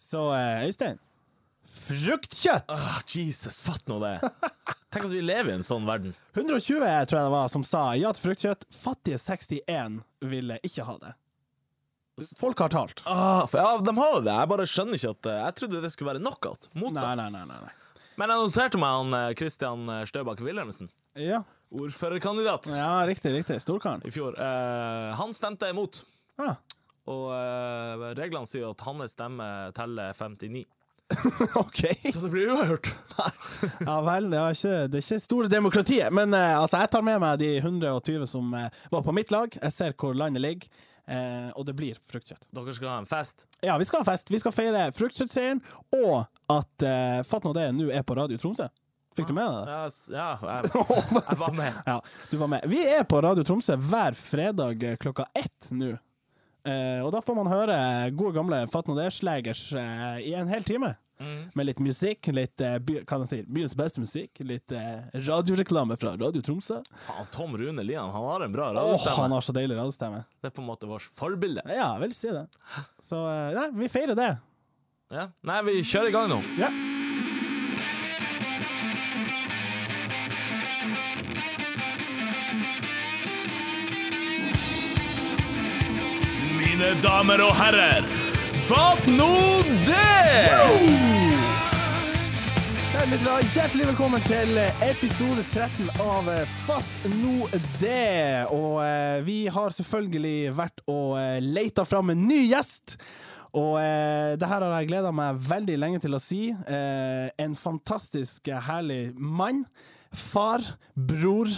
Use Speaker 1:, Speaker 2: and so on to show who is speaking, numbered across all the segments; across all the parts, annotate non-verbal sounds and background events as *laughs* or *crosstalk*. Speaker 1: Så eh, Øystein Fruktkjøtt!
Speaker 2: Ah, Jesus, fatt nå det. Tenk at vi lever i en sånn verden.
Speaker 1: 120 tror jeg det var som sa ja til fruktkjøtt. Fattige 61 ville ikke ha det. Folk har talt.
Speaker 2: Ah, for, ja, De har jo det. Jeg bare skjønner ikke at eh, Jeg trodde det skulle være knockout.
Speaker 1: Nei,
Speaker 2: Motsatt.
Speaker 1: nei, nei. nei, nei.
Speaker 2: Men jeg noterte meg han eh, Christian eh, Støbakk Wilhelmsen.
Speaker 1: Ja.
Speaker 2: Ordførerkandidat
Speaker 1: ja, riktig, riktig. Storkaren.
Speaker 2: i fjor. Eh, han stemte imot.
Speaker 1: Ah.
Speaker 2: Og eh, reglene sier at hans stemme teller 59.
Speaker 1: *laughs* OK.
Speaker 2: Så det blir uavgjort.
Speaker 1: Ja vel, det er ikke, det er ikke store demokratiet. Men eh, altså, jeg tar med meg de 120 som eh, var på mitt lag. Jeg ser hvor landet ligger, eh, og det blir fruktkjøtt.
Speaker 2: Dere skal ha en fest.
Speaker 1: Ja, vi skal ha fest. Vi skal feire fruktkjøttseieren, og at eh, Fatt nå det nå er på Radio Tromsø. Fikk du med deg det?
Speaker 2: Ja, s- ja
Speaker 1: *laughs*
Speaker 2: jeg, jeg var med.
Speaker 1: Ja, du var med. Vi er på Radio Tromsø hver fredag eh, klokka ett nå. Eh, og da får man høre gode gamle Fatt nå det-slegers eh, i en hel time.
Speaker 2: Mm.
Speaker 1: Med litt musikk, litt eh, by, kan jeg si, byens beste musikk, litt eh, radioreklame fra Radio Tromsø.
Speaker 2: Faen, Tom Rune Lian han har en bra
Speaker 1: Åh,
Speaker 2: radiostemme.
Speaker 1: han har så deilig radiostemme.
Speaker 2: det er på en måte vårt forbilde.
Speaker 1: Ja, jeg vil si det. Så eh, nei, vi feirer det.
Speaker 2: Ja. Nei, vi kjører i gang nå.
Speaker 1: Ja.
Speaker 2: Mine damer og herrer, fatt nå det!
Speaker 1: Kjære lyttere, hjertelig velkommen til eh, episode 13 av eh, Fatt nå det. Og eh, vi har selvfølgelig vært og eh, leita fram en ny gjest. Og eh, det her har jeg gleda meg veldig lenge til å si. Eh, en fantastisk eh, herlig mann. Far. Bror.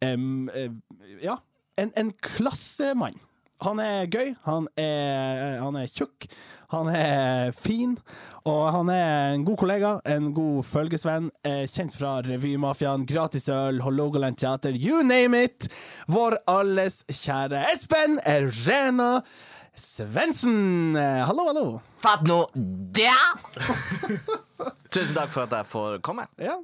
Speaker 1: em, eh, ja, en, en klassemann. Han er gøy, han er, han er tjukk, han er fin, og han er en god kollega, en god følgesvenn, eh, kjent fra Revymafiaen, Gratis Øl, Hålogaland Teater, you name it! Vår alles kjære Espen Rena Svendsen! Eh, Hallo, hallo!
Speaker 3: Fatt nå det! Tusen takk for at jeg får komme.
Speaker 1: Ja.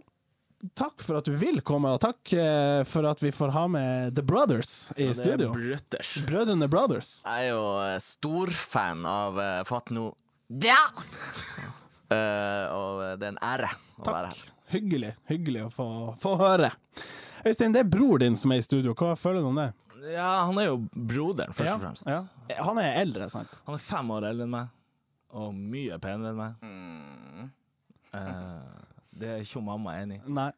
Speaker 1: Takk for at du vil komme, og takk eh, for at vi får ha med The Brothers i
Speaker 2: Det er
Speaker 1: studio.
Speaker 2: brøtters.
Speaker 1: Brødrene Brothers.
Speaker 3: Jeg er jo eh, storfan av eh, Fatt nå det! Eh, og eh, det er en ære å være
Speaker 1: Takk.
Speaker 3: her.
Speaker 1: Hyggelig hyggelig å få, få høre. Øystein, det er bror din som er i studio. Hva føler du om det?
Speaker 2: Ja, han er jo broderen, først og fremst.
Speaker 1: Ja, ja. Han er eldre, sant?
Speaker 2: Han er fem år eldre enn meg, og mye penere enn meg.
Speaker 3: Mm,
Speaker 2: Eh, det er ikke mamma enig i.
Speaker 1: Nei.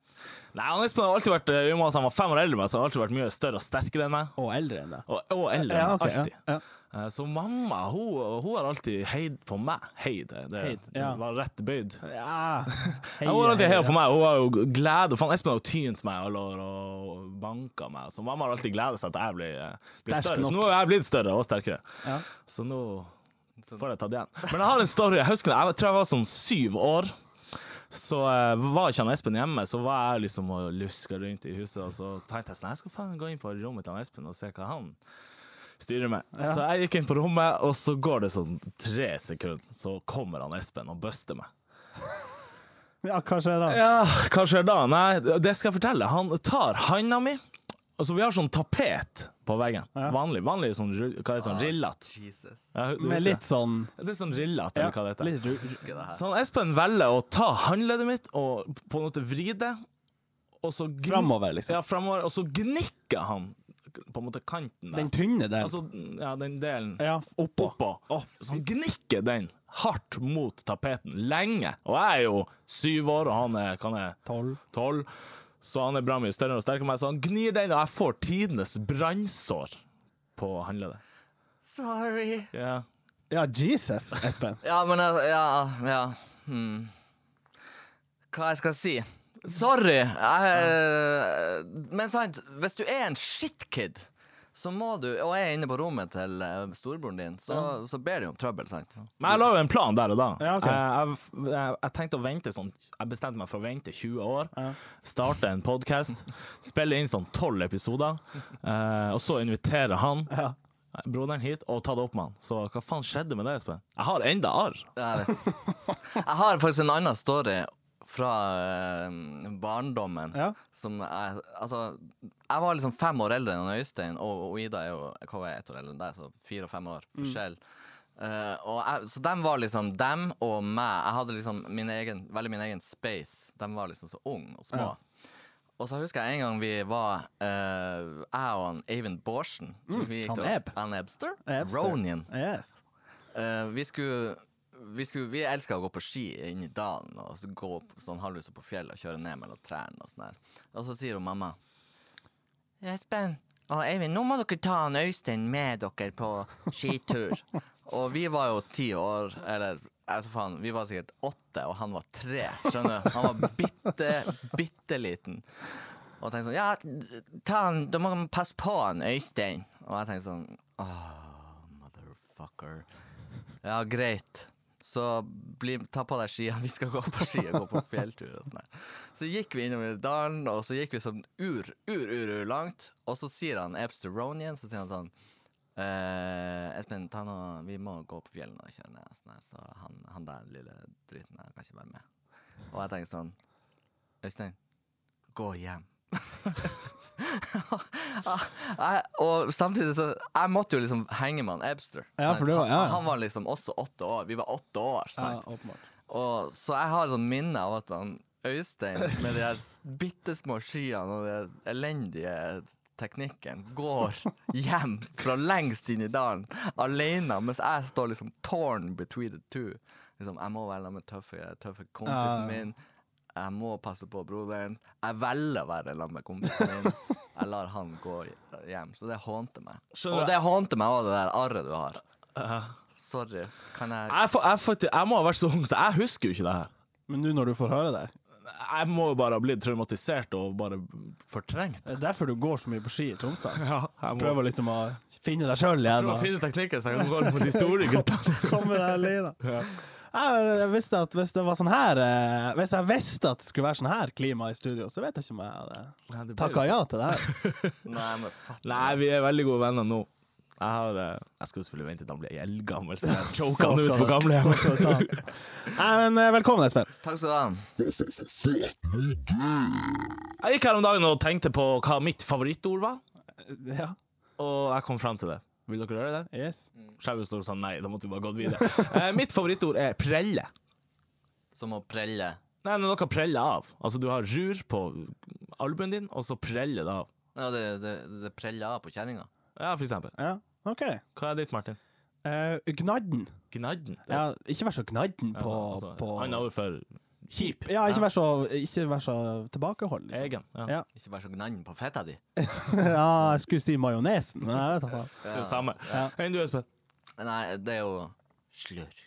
Speaker 2: Nei, han Espen har alltid vært eh, I og med at han var fem år eldre enn meg, så har han alltid vært mye større og sterkere enn meg.
Speaker 1: Og eldre enn deg.
Speaker 2: Og, og eldre. enn
Speaker 1: Ja,
Speaker 2: meg,
Speaker 1: ok, ja,
Speaker 2: alltid.
Speaker 1: ja.
Speaker 2: *laughs* Eh, Så mamma hun, hun har alltid heid på meg. Heid, det
Speaker 1: Heid, ja.
Speaker 2: var rett bøyd.
Speaker 1: Ja. Hei,
Speaker 2: Ja, hun har alltid
Speaker 1: hei,
Speaker 2: heia på meg. Hun har jo glede Faen, Espen har jo tynt meg i alle år og banka meg. Så mamma har alltid gleda seg til jeg blir, eh, blir
Speaker 1: Sterk
Speaker 2: større.
Speaker 1: nok.
Speaker 2: Så nå har jeg blitt større og sterkere.
Speaker 1: Ja.
Speaker 2: Så nå får jeg ta det igjen. Men jeg har en story. Jeg husker det. Jeg tror jeg var sånn syv år. Så eh, var ikke han Espen hjemme, så var jeg liksom og luska rundt i huset. Og så tenkte jeg sånn, jeg skal faen gå inn på rommet til han Espen og se hva han styrer med. Så jeg gikk inn på rommet, og så går det sånn tre sekunder, så kommer han Espen og buster meg.
Speaker 1: Ja, hva skjer da?
Speaker 2: Ja, hva skjer da? Nei, det skal jeg fortelle. Han tar handa mi. Altså, vi har sånn tapet på veggen. Vanlig, vanlig sånn, rull- hva er det, sånn rillat.
Speaker 3: Jesus,
Speaker 2: Ja, du
Speaker 1: Med
Speaker 2: husker
Speaker 1: litt sånn
Speaker 2: det? Det er sånn rillat, eller hva det heter.
Speaker 1: litt ru-
Speaker 3: husker det her.
Speaker 2: Så han Espen velger å ta håndleddet mitt og på en måte vri det, og så gni-
Speaker 1: Framover, liksom.
Speaker 2: Ja, framover, og så gnikker han på en måte kanten der.
Speaker 1: Den tynne der.
Speaker 2: altså, ja, den delen
Speaker 1: ja, oppå.
Speaker 2: oppå. Så han gnikker den hardt mot tapeten lenge. Og jeg er jo syv år, og han er, kan jeg,
Speaker 1: Tolv.
Speaker 2: tolv. Så han er bra mye større og sterkere enn meg, så han gnir den, og jeg får tidenes brannsår på håndleddet.
Speaker 3: Sorry.
Speaker 2: Ja.
Speaker 1: Ja, Jesus, Espen.
Speaker 3: Ja, men jeg- Ja, ja. Hmm. Hva jeg skal si? Sorry. Jeg, men sant, hvis du er en shitkid, så må du Og er inne på rommet til eh, storebroren din, så, så ber du om trøbbel, sant?
Speaker 2: Men jeg la jo en plan der og da. Eh,
Speaker 1: Ja, ok.
Speaker 2: jeg, jeg, jeg, jeg tenkte å vente sånn Jeg bestemte meg for å vente 20 år, starte en podkast, spille inn sånn 12 episoder, eh, og så invitere han,
Speaker 1: Ja.
Speaker 2: broderen, hit og ta det opp med han. Så hva faen skjedde med det, Espen? Jeg har enda arr.
Speaker 3: Jeg vet. Jeg har faktisk en annen story fra eh, barndommen.
Speaker 1: Ja.
Speaker 3: Som jeg Altså, jeg var liksom
Speaker 1: Mm.
Speaker 3: fem år eldre enn Øystein, og, og Ida er jo hva var jeg, ett år eldre enn deg, så fire og fem år forskjell. Eh, og jeg, så dem var liksom dem og meg. Jeg hadde liksom min egen, veldig min egen space. De var liksom så unge og små. Og så husker jeg en gang vi var eh, Jeg og han Eivind Bårdsen. vi
Speaker 1: Mm. han
Speaker 3: til-
Speaker 1: Ebb.
Speaker 3: Han Ebster?
Speaker 1: Ebster.
Speaker 3: Ronin.
Speaker 1: Yes.
Speaker 3: Eh, vi skulle vi, skulle, vi elska å gå på ski inn i dalen og så gå opp sånn halvveis opp på fjellet og kjøre ned mellom trærne. Og sånn der. Og så sier hun mamma Espen og Eivind, nå må dere ta han Øystein med dere på skitur. og vi var jo ti år, eller altså faen, vi var sikkert åtte, og han var tre. Skjønner du? Han var bitte, bitte liten. Og tenkte sånn Ja, ta han, da må man passe på han Øystein. Og jeg tenkte sånn Åh, motherfucker. Ja, greit. Så bli, ta på deg skia, *laughs* vi skal gå på ski og gå på fjelltur. Og sånn der. så gikk vi innover dalen, og så gikk vi sånn ur, ur, ur, ur langt. Og så sier han Ebster Ronien, så sier han sånn eh, Espen, ta nå, vi må gå på fjellene og kjøre ned. og Sånn der. Så han, han der lille driten der kan ikke være med. Og jeg tenker sånn Øystein, gå hjem. *laughs* jeg, og samtidig så Jeg måtte jo liksom henge med han Ebster.
Speaker 1: Ja,
Speaker 3: sant?
Speaker 1: for det var- ja, ja.
Speaker 3: Han, han var liksom også åtte år. Vi var åtte år.
Speaker 1: *laughs* Ja,
Speaker 3: Sant?
Speaker 1: åpenbart.
Speaker 3: Og, så jeg har sånn minne av at han Øystein med de her bitte små skiene og den elendige teknikken går hjem fra lengst inn i dalen alene, mens jeg står liksom torn between the two. Liksom, jeg må være sammen med tøffe, tøffe
Speaker 1: Ja.
Speaker 3: kompisen min. Jeg må passe på broderen. Jeg velger å være sammen med kompisen min. Jeg lar han gå hjem. Så det hånte meg.
Speaker 2: Skjønner
Speaker 3: Og
Speaker 2: du?
Speaker 3: det hånte meg òg, det der arret du har. Sorry. Kan jeg
Speaker 2: Jeg, får- jeg, får- jeg må ha vært så ung, så jeg husker jo ikke det her.
Speaker 1: Men nå når du får høre det
Speaker 2: Jeg må jo bare ha blitt traumatisert og bare fortrengt.
Speaker 1: Det er derfor du går så mye på ski i Tromsdal.
Speaker 2: *laughs* Ja, jeg må
Speaker 1: Prøver liksom å finne deg sjøl igjen.
Speaker 2: prøve å
Speaker 1: og-
Speaker 2: finne teknikken så jeg kan gå mot de store guttene.
Speaker 1: Komme deg
Speaker 2: *laughs*
Speaker 1: alene. Jeg, jeg visste at hvis det var sånn her eh, Hvis jeg visste at det skulle være sånn her klima i studio, så vet jeg ikke om jeg hadde
Speaker 2: Nei, det blir
Speaker 1: takka ja
Speaker 2: jo
Speaker 1: til det
Speaker 2: *laughs*
Speaker 1: her.
Speaker 3: Nei, men fatt
Speaker 2: Nei, vi er veldig gode venner nå. Jeg, har, eh, jeg skal jo selvfølgelig vente til han blir eldgammel, så *laughs* jeg choker han
Speaker 1: Så
Speaker 2: ut
Speaker 1: skal
Speaker 2: på
Speaker 1: det-
Speaker 2: gamlehjem.
Speaker 1: så skal det ta. Nei, men eh, velkommen, Espen.
Speaker 3: Takk skal du ha.
Speaker 2: *laughs* Jeg gikk her om dagen og tenkte på hva mitt favorittord var, Eh,
Speaker 1: Ja.
Speaker 2: og jeg kom frem til det. Vil dere gjøre det?
Speaker 1: Yes.
Speaker 2: Skjauet står sånn, nei, da måtte vi bare gått videre. *laughs* Eh, mitt favorittord er prelle.
Speaker 3: Som å prelle.
Speaker 2: Nei, det er noe å prelle av. Altså, du har rur på albuen din, og så prelle det av.
Speaker 3: Ja, det, det, det preller av på kjerringa.
Speaker 2: Ja, for eksempel.
Speaker 1: Ja, OK.
Speaker 2: Hva er ditt, Martin?
Speaker 1: Eh, gnadden.
Speaker 2: Gnadden? Det-
Speaker 1: Ja, ikke vær så gnadden på,
Speaker 2: altså, altså,
Speaker 1: på
Speaker 2: Annet ord for kjip.
Speaker 1: Ja, ikke vær så, ikke vær så tilbakeholden. Liksom.
Speaker 2: Egen.
Speaker 1: Ja.
Speaker 2: Ja.
Speaker 3: Ikke vær så gnannen på fetta di.
Speaker 1: *laughs* Ja, jeg skulle si majonesen, men jeg vet ikke. hva.
Speaker 2: Det er det samme. Enn du, Espen?
Speaker 3: Nei, det er jo slurk.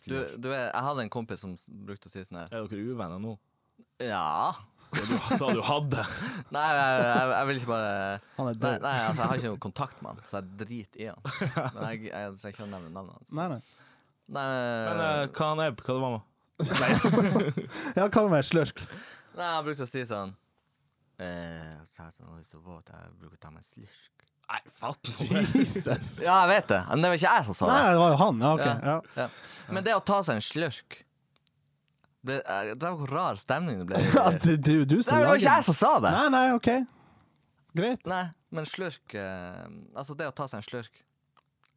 Speaker 3: Du, du vet, jeg hadde en kompis som s- brukte å si sånn her
Speaker 2: Er dere uvenner nå?
Speaker 3: Ja.
Speaker 2: Så du *laughs* sa du hadde.
Speaker 3: *laughs* Nei, jeg, jeg, jeg vil ikke bare
Speaker 1: Han er
Speaker 3: Nei,
Speaker 1: død.
Speaker 3: nei altså, jeg har ikke noe kontakt med han, så jeg driter i han. Men jeg, jeg trenger ikke å nevne navnet hans.
Speaker 1: Nei, nei.
Speaker 3: Nei,
Speaker 2: Men eh, hva han er, hva det var med?
Speaker 1: Ja, kall meg slørsk.
Speaker 3: nei, jeg brukte å si sånn eh, Satan, nå er jeg så våt, jeg bruker å ta meg en slurk.
Speaker 2: Nei, fatten.
Speaker 1: Jesus.
Speaker 3: Ja, jeg vet det, men det var ikke jeg som sa det.
Speaker 1: Nei, det var jo han. Ja, ok. Ja.
Speaker 3: Ja. Men det å ta seg en slurk ble, eh, Det var hvor rar stemning det ble.
Speaker 1: *laughs* Ja,
Speaker 3: det
Speaker 1: du, du, du står
Speaker 3: var ikke jeg
Speaker 1: lagen.
Speaker 3: som sa det!
Speaker 1: Nei, nei, ok. Greit.
Speaker 3: Nei, men slurk eh, Altså, det å ta seg en slurk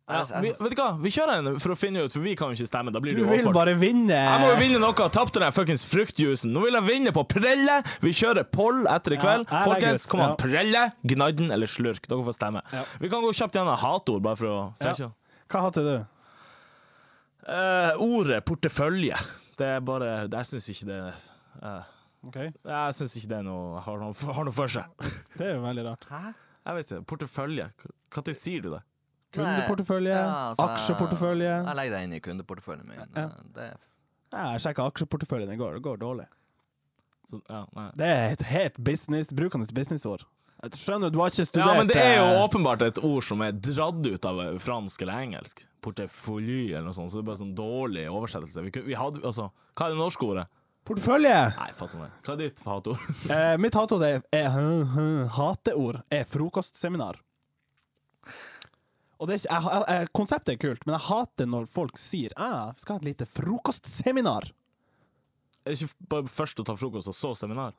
Speaker 2: Ja,
Speaker 3: Jeg- jeg-
Speaker 2: vi, vet du hva, vi kjører en for å finne ut, for vi kan jo ikke stemme. Da blir
Speaker 1: Du
Speaker 2: det jo
Speaker 1: vil
Speaker 2: awkward.
Speaker 1: bare vinne.
Speaker 2: Jeg må jo vinne noe. Tapte den fuckings fruktjuicen. Nå vil jeg vinne på prelle. Vi kjører poll etter i
Speaker 1: Ja,
Speaker 2: kveld.
Speaker 1: jeg legger
Speaker 2: Folkens,
Speaker 1: ut.
Speaker 2: kom an.
Speaker 1: Ja.
Speaker 2: Prelle, gnadden eller slurk. Dere får stemme.
Speaker 1: Ja.
Speaker 2: Vi kan gå kjapt gjennom hatord, bare for å
Speaker 1: Ja.
Speaker 2: ja.
Speaker 1: Hva hadde du?
Speaker 2: Eh, Ordet portefølje. Det er bare Jeg syns ikke det eh,
Speaker 1: Ok,
Speaker 2: Jeg syns ikke det er noe har noe, har noe for seg.
Speaker 1: Det er jo veldig rart.
Speaker 3: Hæ?
Speaker 2: Jeg vet ikke. Portefølje. Når sier du det?
Speaker 1: Kundeportefølje,
Speaker 3: Ja, altså,
Speaker 1: aksjeportefølje.
Speaker 3: Jeg legger deg inn i kundeporteføljen min.
Speaker 1: Ja.
Speaker 3: eh, Det,
Speaker 1: Ja, jeg sjekka aksjeporteføljen i går, det går dårlig.
Speaker 2: Så, ja, nei.
Speaker 1: Det er et helt business, brukende businessord. Jeg Skjønner, du har ikke studert
Speaker 2: Ja, men det er jo
Speaker 1: eh,
Speaker 2: åpenbart et ord som er dratt ut av fransk eller engelsk. Portefølje eller noe sånt, så det er bare sånn dårlig oversettelse. Vi, kunne- vi hadde, altså, hva er det norske ordet?
Speaker 1: Portefølje!
Speaker 2: Nei, fatter meg. Hva er ditt hatord? *laughs*
Speaker 1: Eh, mitt hateord er, er *laughs* hø- hø- Hateord er frokostseminar. Og det er ikke, jeg, jeg, jeg, konseptet er kult, men jeg hater når folk sier ah, vi skal ha et lite frokostseminar.
Speaker 2: Er det ikke bare først å ta frokost og så seminar?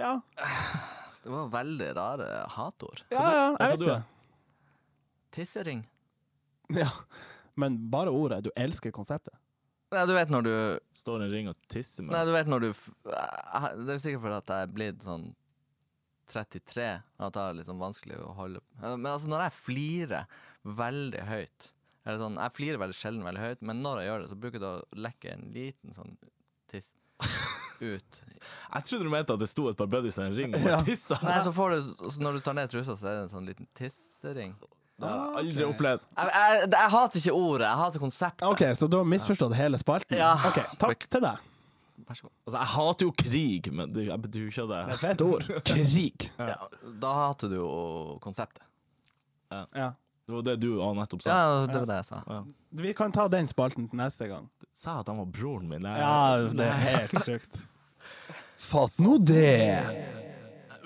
Speaker 1: Ja,
Speaker 3: det var veldig rare hatord.
Speaker 1: ja, ja jeg
Speaker 2: Hva
Speaker 1: vet
Speaker 2: du
Speaker 1: ikke.
Speaker 2: er?
Speaker 3: Tissering.
Speaker 1: *laughs* Ja. men bare ordet. Du elsker konseptet.
Speaker 3: Nei, du vet når du
Speaker 2: Står i en ring og tisser med
Speaker 3: Nei, du vet når du f- jeg- Det er jo sikkert fordi at jeg er blitt sånn 33, at det er litt sånn vanskelig å holde Eh, Men altså, når jeg flirer veldig høyt eller sånn, Jeg flirer veldig sjelden veldig høyt, men når jeg gjør det, så bruker det å lekke en liten sånn tiss *laughs* ut.
Speaker 2: Jeg trodde du mente at det sto et par buddies i en
Speaker 1: *laughs*
Speaker 2: ring og
Speaker 1: Ja.
Speaker 2: bare tissa.
Speaker 3: Nei, så får du så Når du tar ned trusa, så er det en sånn liten tissering.
Speaker 2: Det har jeg aldri opplevd.
Speaker 3: Jeg, jeg, jeg hater ikke ordet, jeg hater konseptet.
Speaker 1: OK, så du har misforstått hele spalten?
Speaker 3: Ja.
Speaker 1: OK, takk til deg.
Speaker 3: Vær så god.
Speaker 2: Altså, jeg hater jo krig, men det, jeg betyr ikke det.
Speaker 3: *laughs*
Speaker 1: Fett ord. Krig.
Speaker 3: Da hater du jo konseptet.
Speaker 1: Ja.
Speaker 2: Det var det du og nettopp sa.
Speaker 3: Ja, det var det jeg sa.
Speaker 1: Vi kan ta den spalten til neste gang.
Speaker 2: Sa at han var broren min. Jeg-
Speaker 1: Ja, det er helt sjukt. Fatt nå det!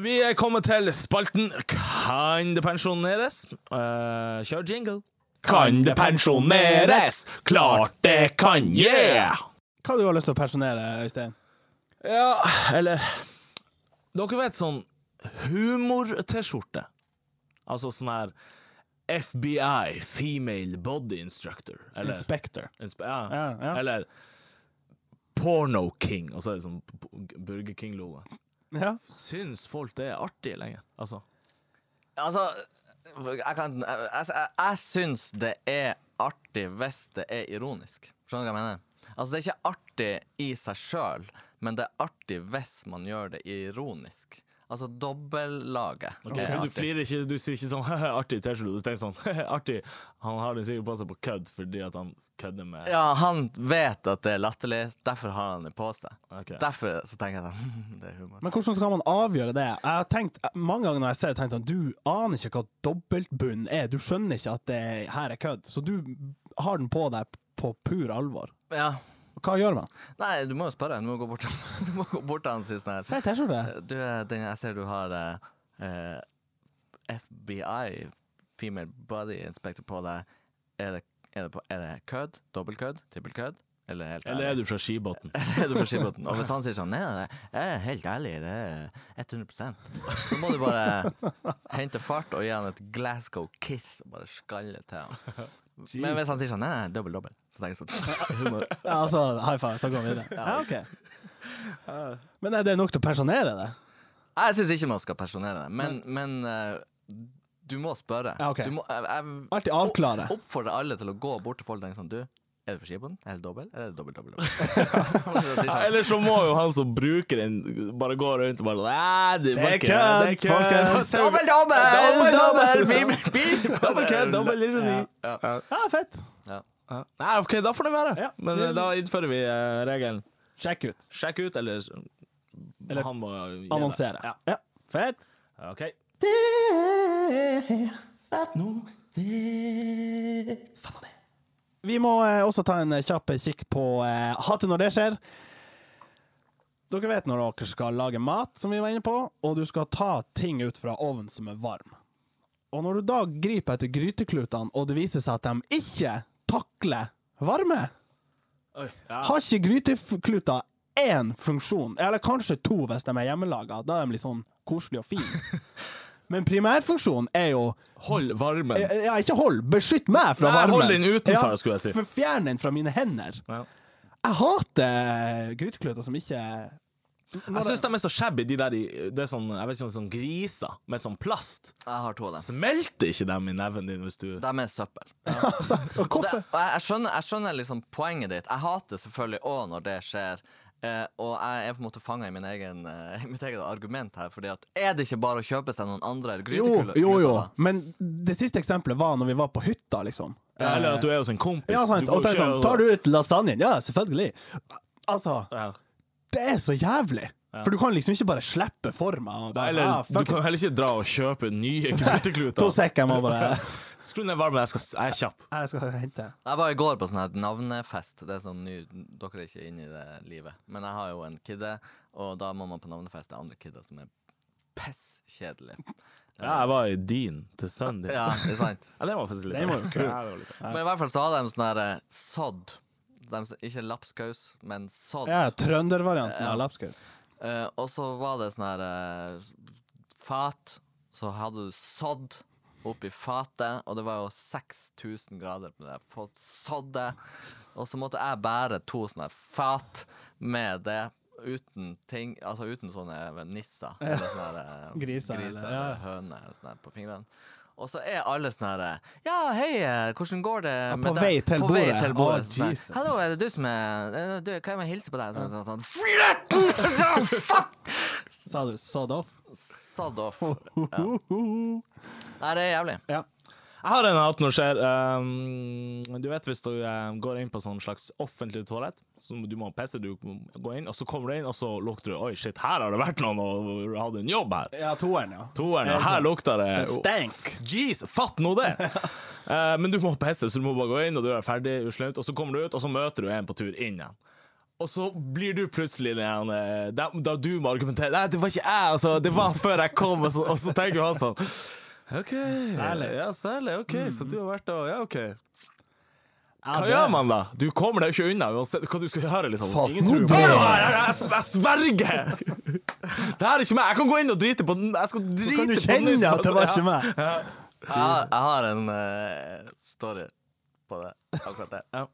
Speaker 2: Vi er kommet til spalten Kan det pensjoneres? Eh, kjør jingle. Kan det pensjoneres? Klart det kan, yeah!
Speaker 1: Hva du har lyst til å pensjonere, Øystein?
Speaker 2: Ja, eller Dere vet sånn humor-T-skjorte? Altså sånn her FBI, Female Body Instructor. Eller,
Speaker 1: Inspector.
Speaker 2: inspe- ja.
Speaker 1: Ja, ja.
Speaker 2: eller Porno King, og så er det sånn b- Burger King-logo.
Speaker 1: Ja.
Speaker 2: Syns folk det er artig lenger? Altså.
Speaker 3: Altså, jeg kan Jeg, jeg, jeg syns det er artig hvis det er ironisk. Skjønner du hva jeg mener? Altså, det er ikke artig i seg sjøl, men det er artig hvis man gjør det ironisk. Altså dobbellaget. er
Speaker 2: Så du
Speaker 3: artig.
Speaker 2: flirer ikke, du sier ikke sånn *laughs* artig T-skjorte, du tenker sånn *laughs* artig. Han har den sikkert på seg på kødd fordi at han kødder med
Speaker 3: Ja, han vet at det er latterlig, derfor har han det på seg.
Speaker 2: Ok.
Speaker 3: Derfor så tenker jeg sånn *laughs* Det er humor.
Speaker 1: Men hvordan skal man avgjøre det? Jeg har tenkt, mange ganger når jeg ser det, tenkt sånn Du aner ikke hva dobbeltbunn er. Du skjønner ikke at det her er kødd. Så du har den på deg på pur alvor.
Speaker 3: Ja.
Speaker 1: Og Hva gjør man?
Speaker 3: Nei, du må jo spørre. Du må gå bort, du må gå bort til *laughs* han og si sånn her
Speaker 1: Fett T-skjorte.
Speaker 3: Du, den, jeg ser du har eh, eh, FBI, Female Body Inspector, på deg. Er det, er det, på- er det kødd? Dobbeltkødd? Trippelkødd? Eller helt
Speaker 2: Eller er du fra Skibotn?
Speaker 3: *laughs* Er du fra Skibotn? Og hvis han sier sånn Nei, nei, jeg er helt ærlig, det er 100 Så må du bare hente fart og gi han et Glasgow kiss og bare skalle til han. Men hvis han sier sånn Nei, nei, dobbel, dobbel, så tenker jeg sånn Humor.
Speaker 1: Ja, altså, high five, så går vi videre. Ja, ok. *laughs* Men er det nok til å pensjonere det?
Speaker 3: Jeg syns ikke man skal personere det, men, men eh, du må spørre.
Speaker 1: Ja, ok.
Speaker 3: Du må, jeg, jeg,
Speaker 1: Alltid avklare.
Speaker 3: oppfordre alle til å gå bort til folk og tenke sånn Du, er det for skibånd? Er det dobbel? Eller er det dobbel, dobbel,
Speaker 1: *laughs*
Speaker 3: dobbel?
Speaker 2: Ja, Eller så må jo han som bruker den, bare gå rundt og bare Nei, det, var
Speaker 1: Det er
Speaker 2: ikke- *laughs* det
Speaker 1: kødd, folkens.
Speaker 2: er kødd.
Speaker 3: Dobbel, dobbel, dobbel,
Speaker 2: Dobbel,
Speaker 3: dobbel, dobbel,
Speaker 2: Dobbel kødd, dobbel ironi.
Speaker 1: Ja, fett.
Speaker 2: Ja. Nei, OK, da får det være.
Speaker 1: Ja.
Speaker 2: Men eh, da innfører vi eh, regelen
Speaker 1: Sjekk ut.
Speaker 2: sjekk ut, eller,
Speaker 1: Eller
Speaker 2: han må gi deg.
Speaker 1: Annonsere.
Speaker 2: Ja.
Speaker 1: Ja, fett.
Speaker 2: OK.
Speaker 1: Vi må eh, også ta en eh, kjapp kikk på eh, hatet når det skjer. Dere vet når dere skal lage mat, som vi var inne på, og du skal ta ting ut fra ovnen som er varm. Og når du da griper etter gryteklutene, og det viser seg at de ikke takler varme,
Speaker 2: Oi, ja.
Speaker 1: har ikke grytekluter én funksjon, eller kanskje to hvis de er hjemmelaga, da er de litt sånn koselige og
Speaker 2: *laughs*
Speaker 1: fine. Men primærfunksjonen er jo
Speaker 2: Hold varmen.
Speaker 1: ja, ikke hold, beskytt meg fra
Speaker 2: Nei,
Speaker 1: varmen.
Speaker 2: hold den utenfor, skulle jeg si.
Speaker 1: for Fjern den fra mine hender.
Speaker 2: Ja.
Speaker 1: Jeg hater grytekløter som ikke
Speaker 2: Jeg syns de er så shabby, de der i det er sånn, jeg vet ikke, om det er sånn griser med sånn plast.
Speaker 3: Jeg har to av dem.
Speaker 2: Smelter ikke dem i neven din hvis du
Speaker 3: De er søppel.
Speaker 1: altså, og
Speaker 3: Det,
Speaker 1: hvorfor?
Speaker 3: og jeg, jeg, skjønner, jeg skjønner liksom poenget ditt. Jeg hater selvfølgelig òg når det skjer. eh, og jeg er på en måte fanga i min egen, eh, *laughs* mitt eget argument her. Fordi at Er det ikke bare å kjøpe seg noen andre
Speaker 1: Jo,
Speaker 3: grytekuler?
Speaker 1: jo, jo. Men det siste eksempelet var når vi var på hytta, liksom.
Speaker 2: Eller at du er hos en kompis.
Speaker 1: Ja, sant.
Speaker 2: Du går
Speaker 1: Og det er
Speaker 2: ikke
Speaker 1: sånn, tar du ut lasagnen? Ja, selvfølgelig. Altså,
Speaker 2: Ja.
Speaker 1: det er så jævlig. For du kan liksom ikke bare slippe forma og bare
Speaker 2: Eller
Speaker 1: sånn, ah,
Speaker 2: du
Speaker 1: fuck
Speaker 2: kan
Speaker 1: it.
Speaker 2: heller ikke dra og kjøpe
Speaker 1: *laughs*
Speaker 2: nye
Speaker 1: To
Speaker 2: grytekluter.
Speaker 1: sek, jeg må bare
Speaker 2: Skru ned varmen, jeg, skal, jeg er kjapp.
Speaker 1: *laughs* Jeg skal hente.
Speaker 3: Jeg var i går på sånn her navnefest. Det er sånn ny, Dere er ikke inne i det livet. Men jeg har jo en kidde, og da må man på navnefest til andre kidder som er pisskjedelige.
Speaker 2: Ja, jeg var i din til sønnen din.
Speaker 3: Ja, det er sant.
Speaker 2: Ja, det var faktisk litt
Speaker 1: Den var jo kul.
Speaker 2: *laughs* Ja, det var litt artig.
Speaker 3: Men i hvert fall så hadde de sånn her eh, sodd. De, som- ikke lapskaus, men sodd.
Speaker 1: Ja, trøndervarianten av lapskaus.
Speaker 3: Eh, og så var det sånn her eh, fat, så hadde du sådd, opp i fatet, og det var jo 6000 grader på det på soddet. Og så måtte jeg bære to sånne fat med det. Uten ting, altså uten sånne nisser eller sånne eh,
Speaker 1: *laughs* Griser, eller-
Speaker 3: griser
Speaker 1: ja.
Speaker 3: eller høner eller sånne her på fingrene. Og så er alle sånn her Ja, hei, eh, hvordan går det med
Speaker 1: på
Speaker 3: deg?»
Speaker 1: vei til
Speaker 3: på
Speaker 1: bordet.
Speaker 3: Vei til
Speaker 1: Å,
Speaker 3: bordet sånn her,
Speaker 1: Jesus.
Speaker 3: Hallo, er det du som er eh, du, Kan jeg må hilse på deg? Sånn, sånn, sånn. *laughs* Flytten! Sånn, Fuck!
Speaker 1: Sa du sod off?
Speaker 3: Sod off. Nei, det er jævlig.
Speaker 1: Ja.
Speaker 2: Jeg har en at noe skjer. Um, du vet hvis du eh, går inn på sånn slags offentlig toalett, så må- du må pisse, du går inn, og så kommer du inn, og så lukter du Oi, shit, her har det vært noen og hatt en jobb her.
Speaker 1: ja, toeren, ja.
Speaker 2: Toeren,
Speaker 1: Ja,
Speaker 2: og her
Speaker 1: sant.
Speaker 2: lukter det
Speaker 1: Det stank.
Speaker 2: Jeez, fatt nå det! *laughs* Eh, men du må pisse, så du må bare gå inn, og du er ferdig, uslemt, og så kommer du ut, og så møter du en på tur inn igjen. Og så blir du plutselig den igjen eh, da, da du må argumentere Nei, det var ikke jeg, altså. Det var før jeg kom. Og så, og så tenker han sånn OK. Særlig. Ja, særlig. OK, så du har vært og Ja, OK.
Speaker 1: Mm. Ja,
Speaker 2: Hva
Speaker 1: det-
Speaker 2: gjør man da? Du kommer deg jo ikke unna uansett hva du skal gjøre, liksom.
Speaker 1: Fatt,
Speaker 2: Ingen
Speaker 1: nå
Speaker 2: tror på
Speaker 1: dør jeg!
Speaker 2: det. jeg, jeg, jeg, jeg sverger! Det her er ikke meg. Jeg kan gå inn og drite på den. Jeg skal drite
Speaker 1: Kan du
Speaker 2: på
Speaker 1: kjenne
Speaker 2: nytt,
Speaker 1: at det
Speaker 2: altså.
Speaker 1: var
Speaker 2: Ja.
Speaker 1: ikke meg?
Speaker 3: Jeg har, jeg har en eh, story på det. Akkurat det.
Speaker 2: Ja.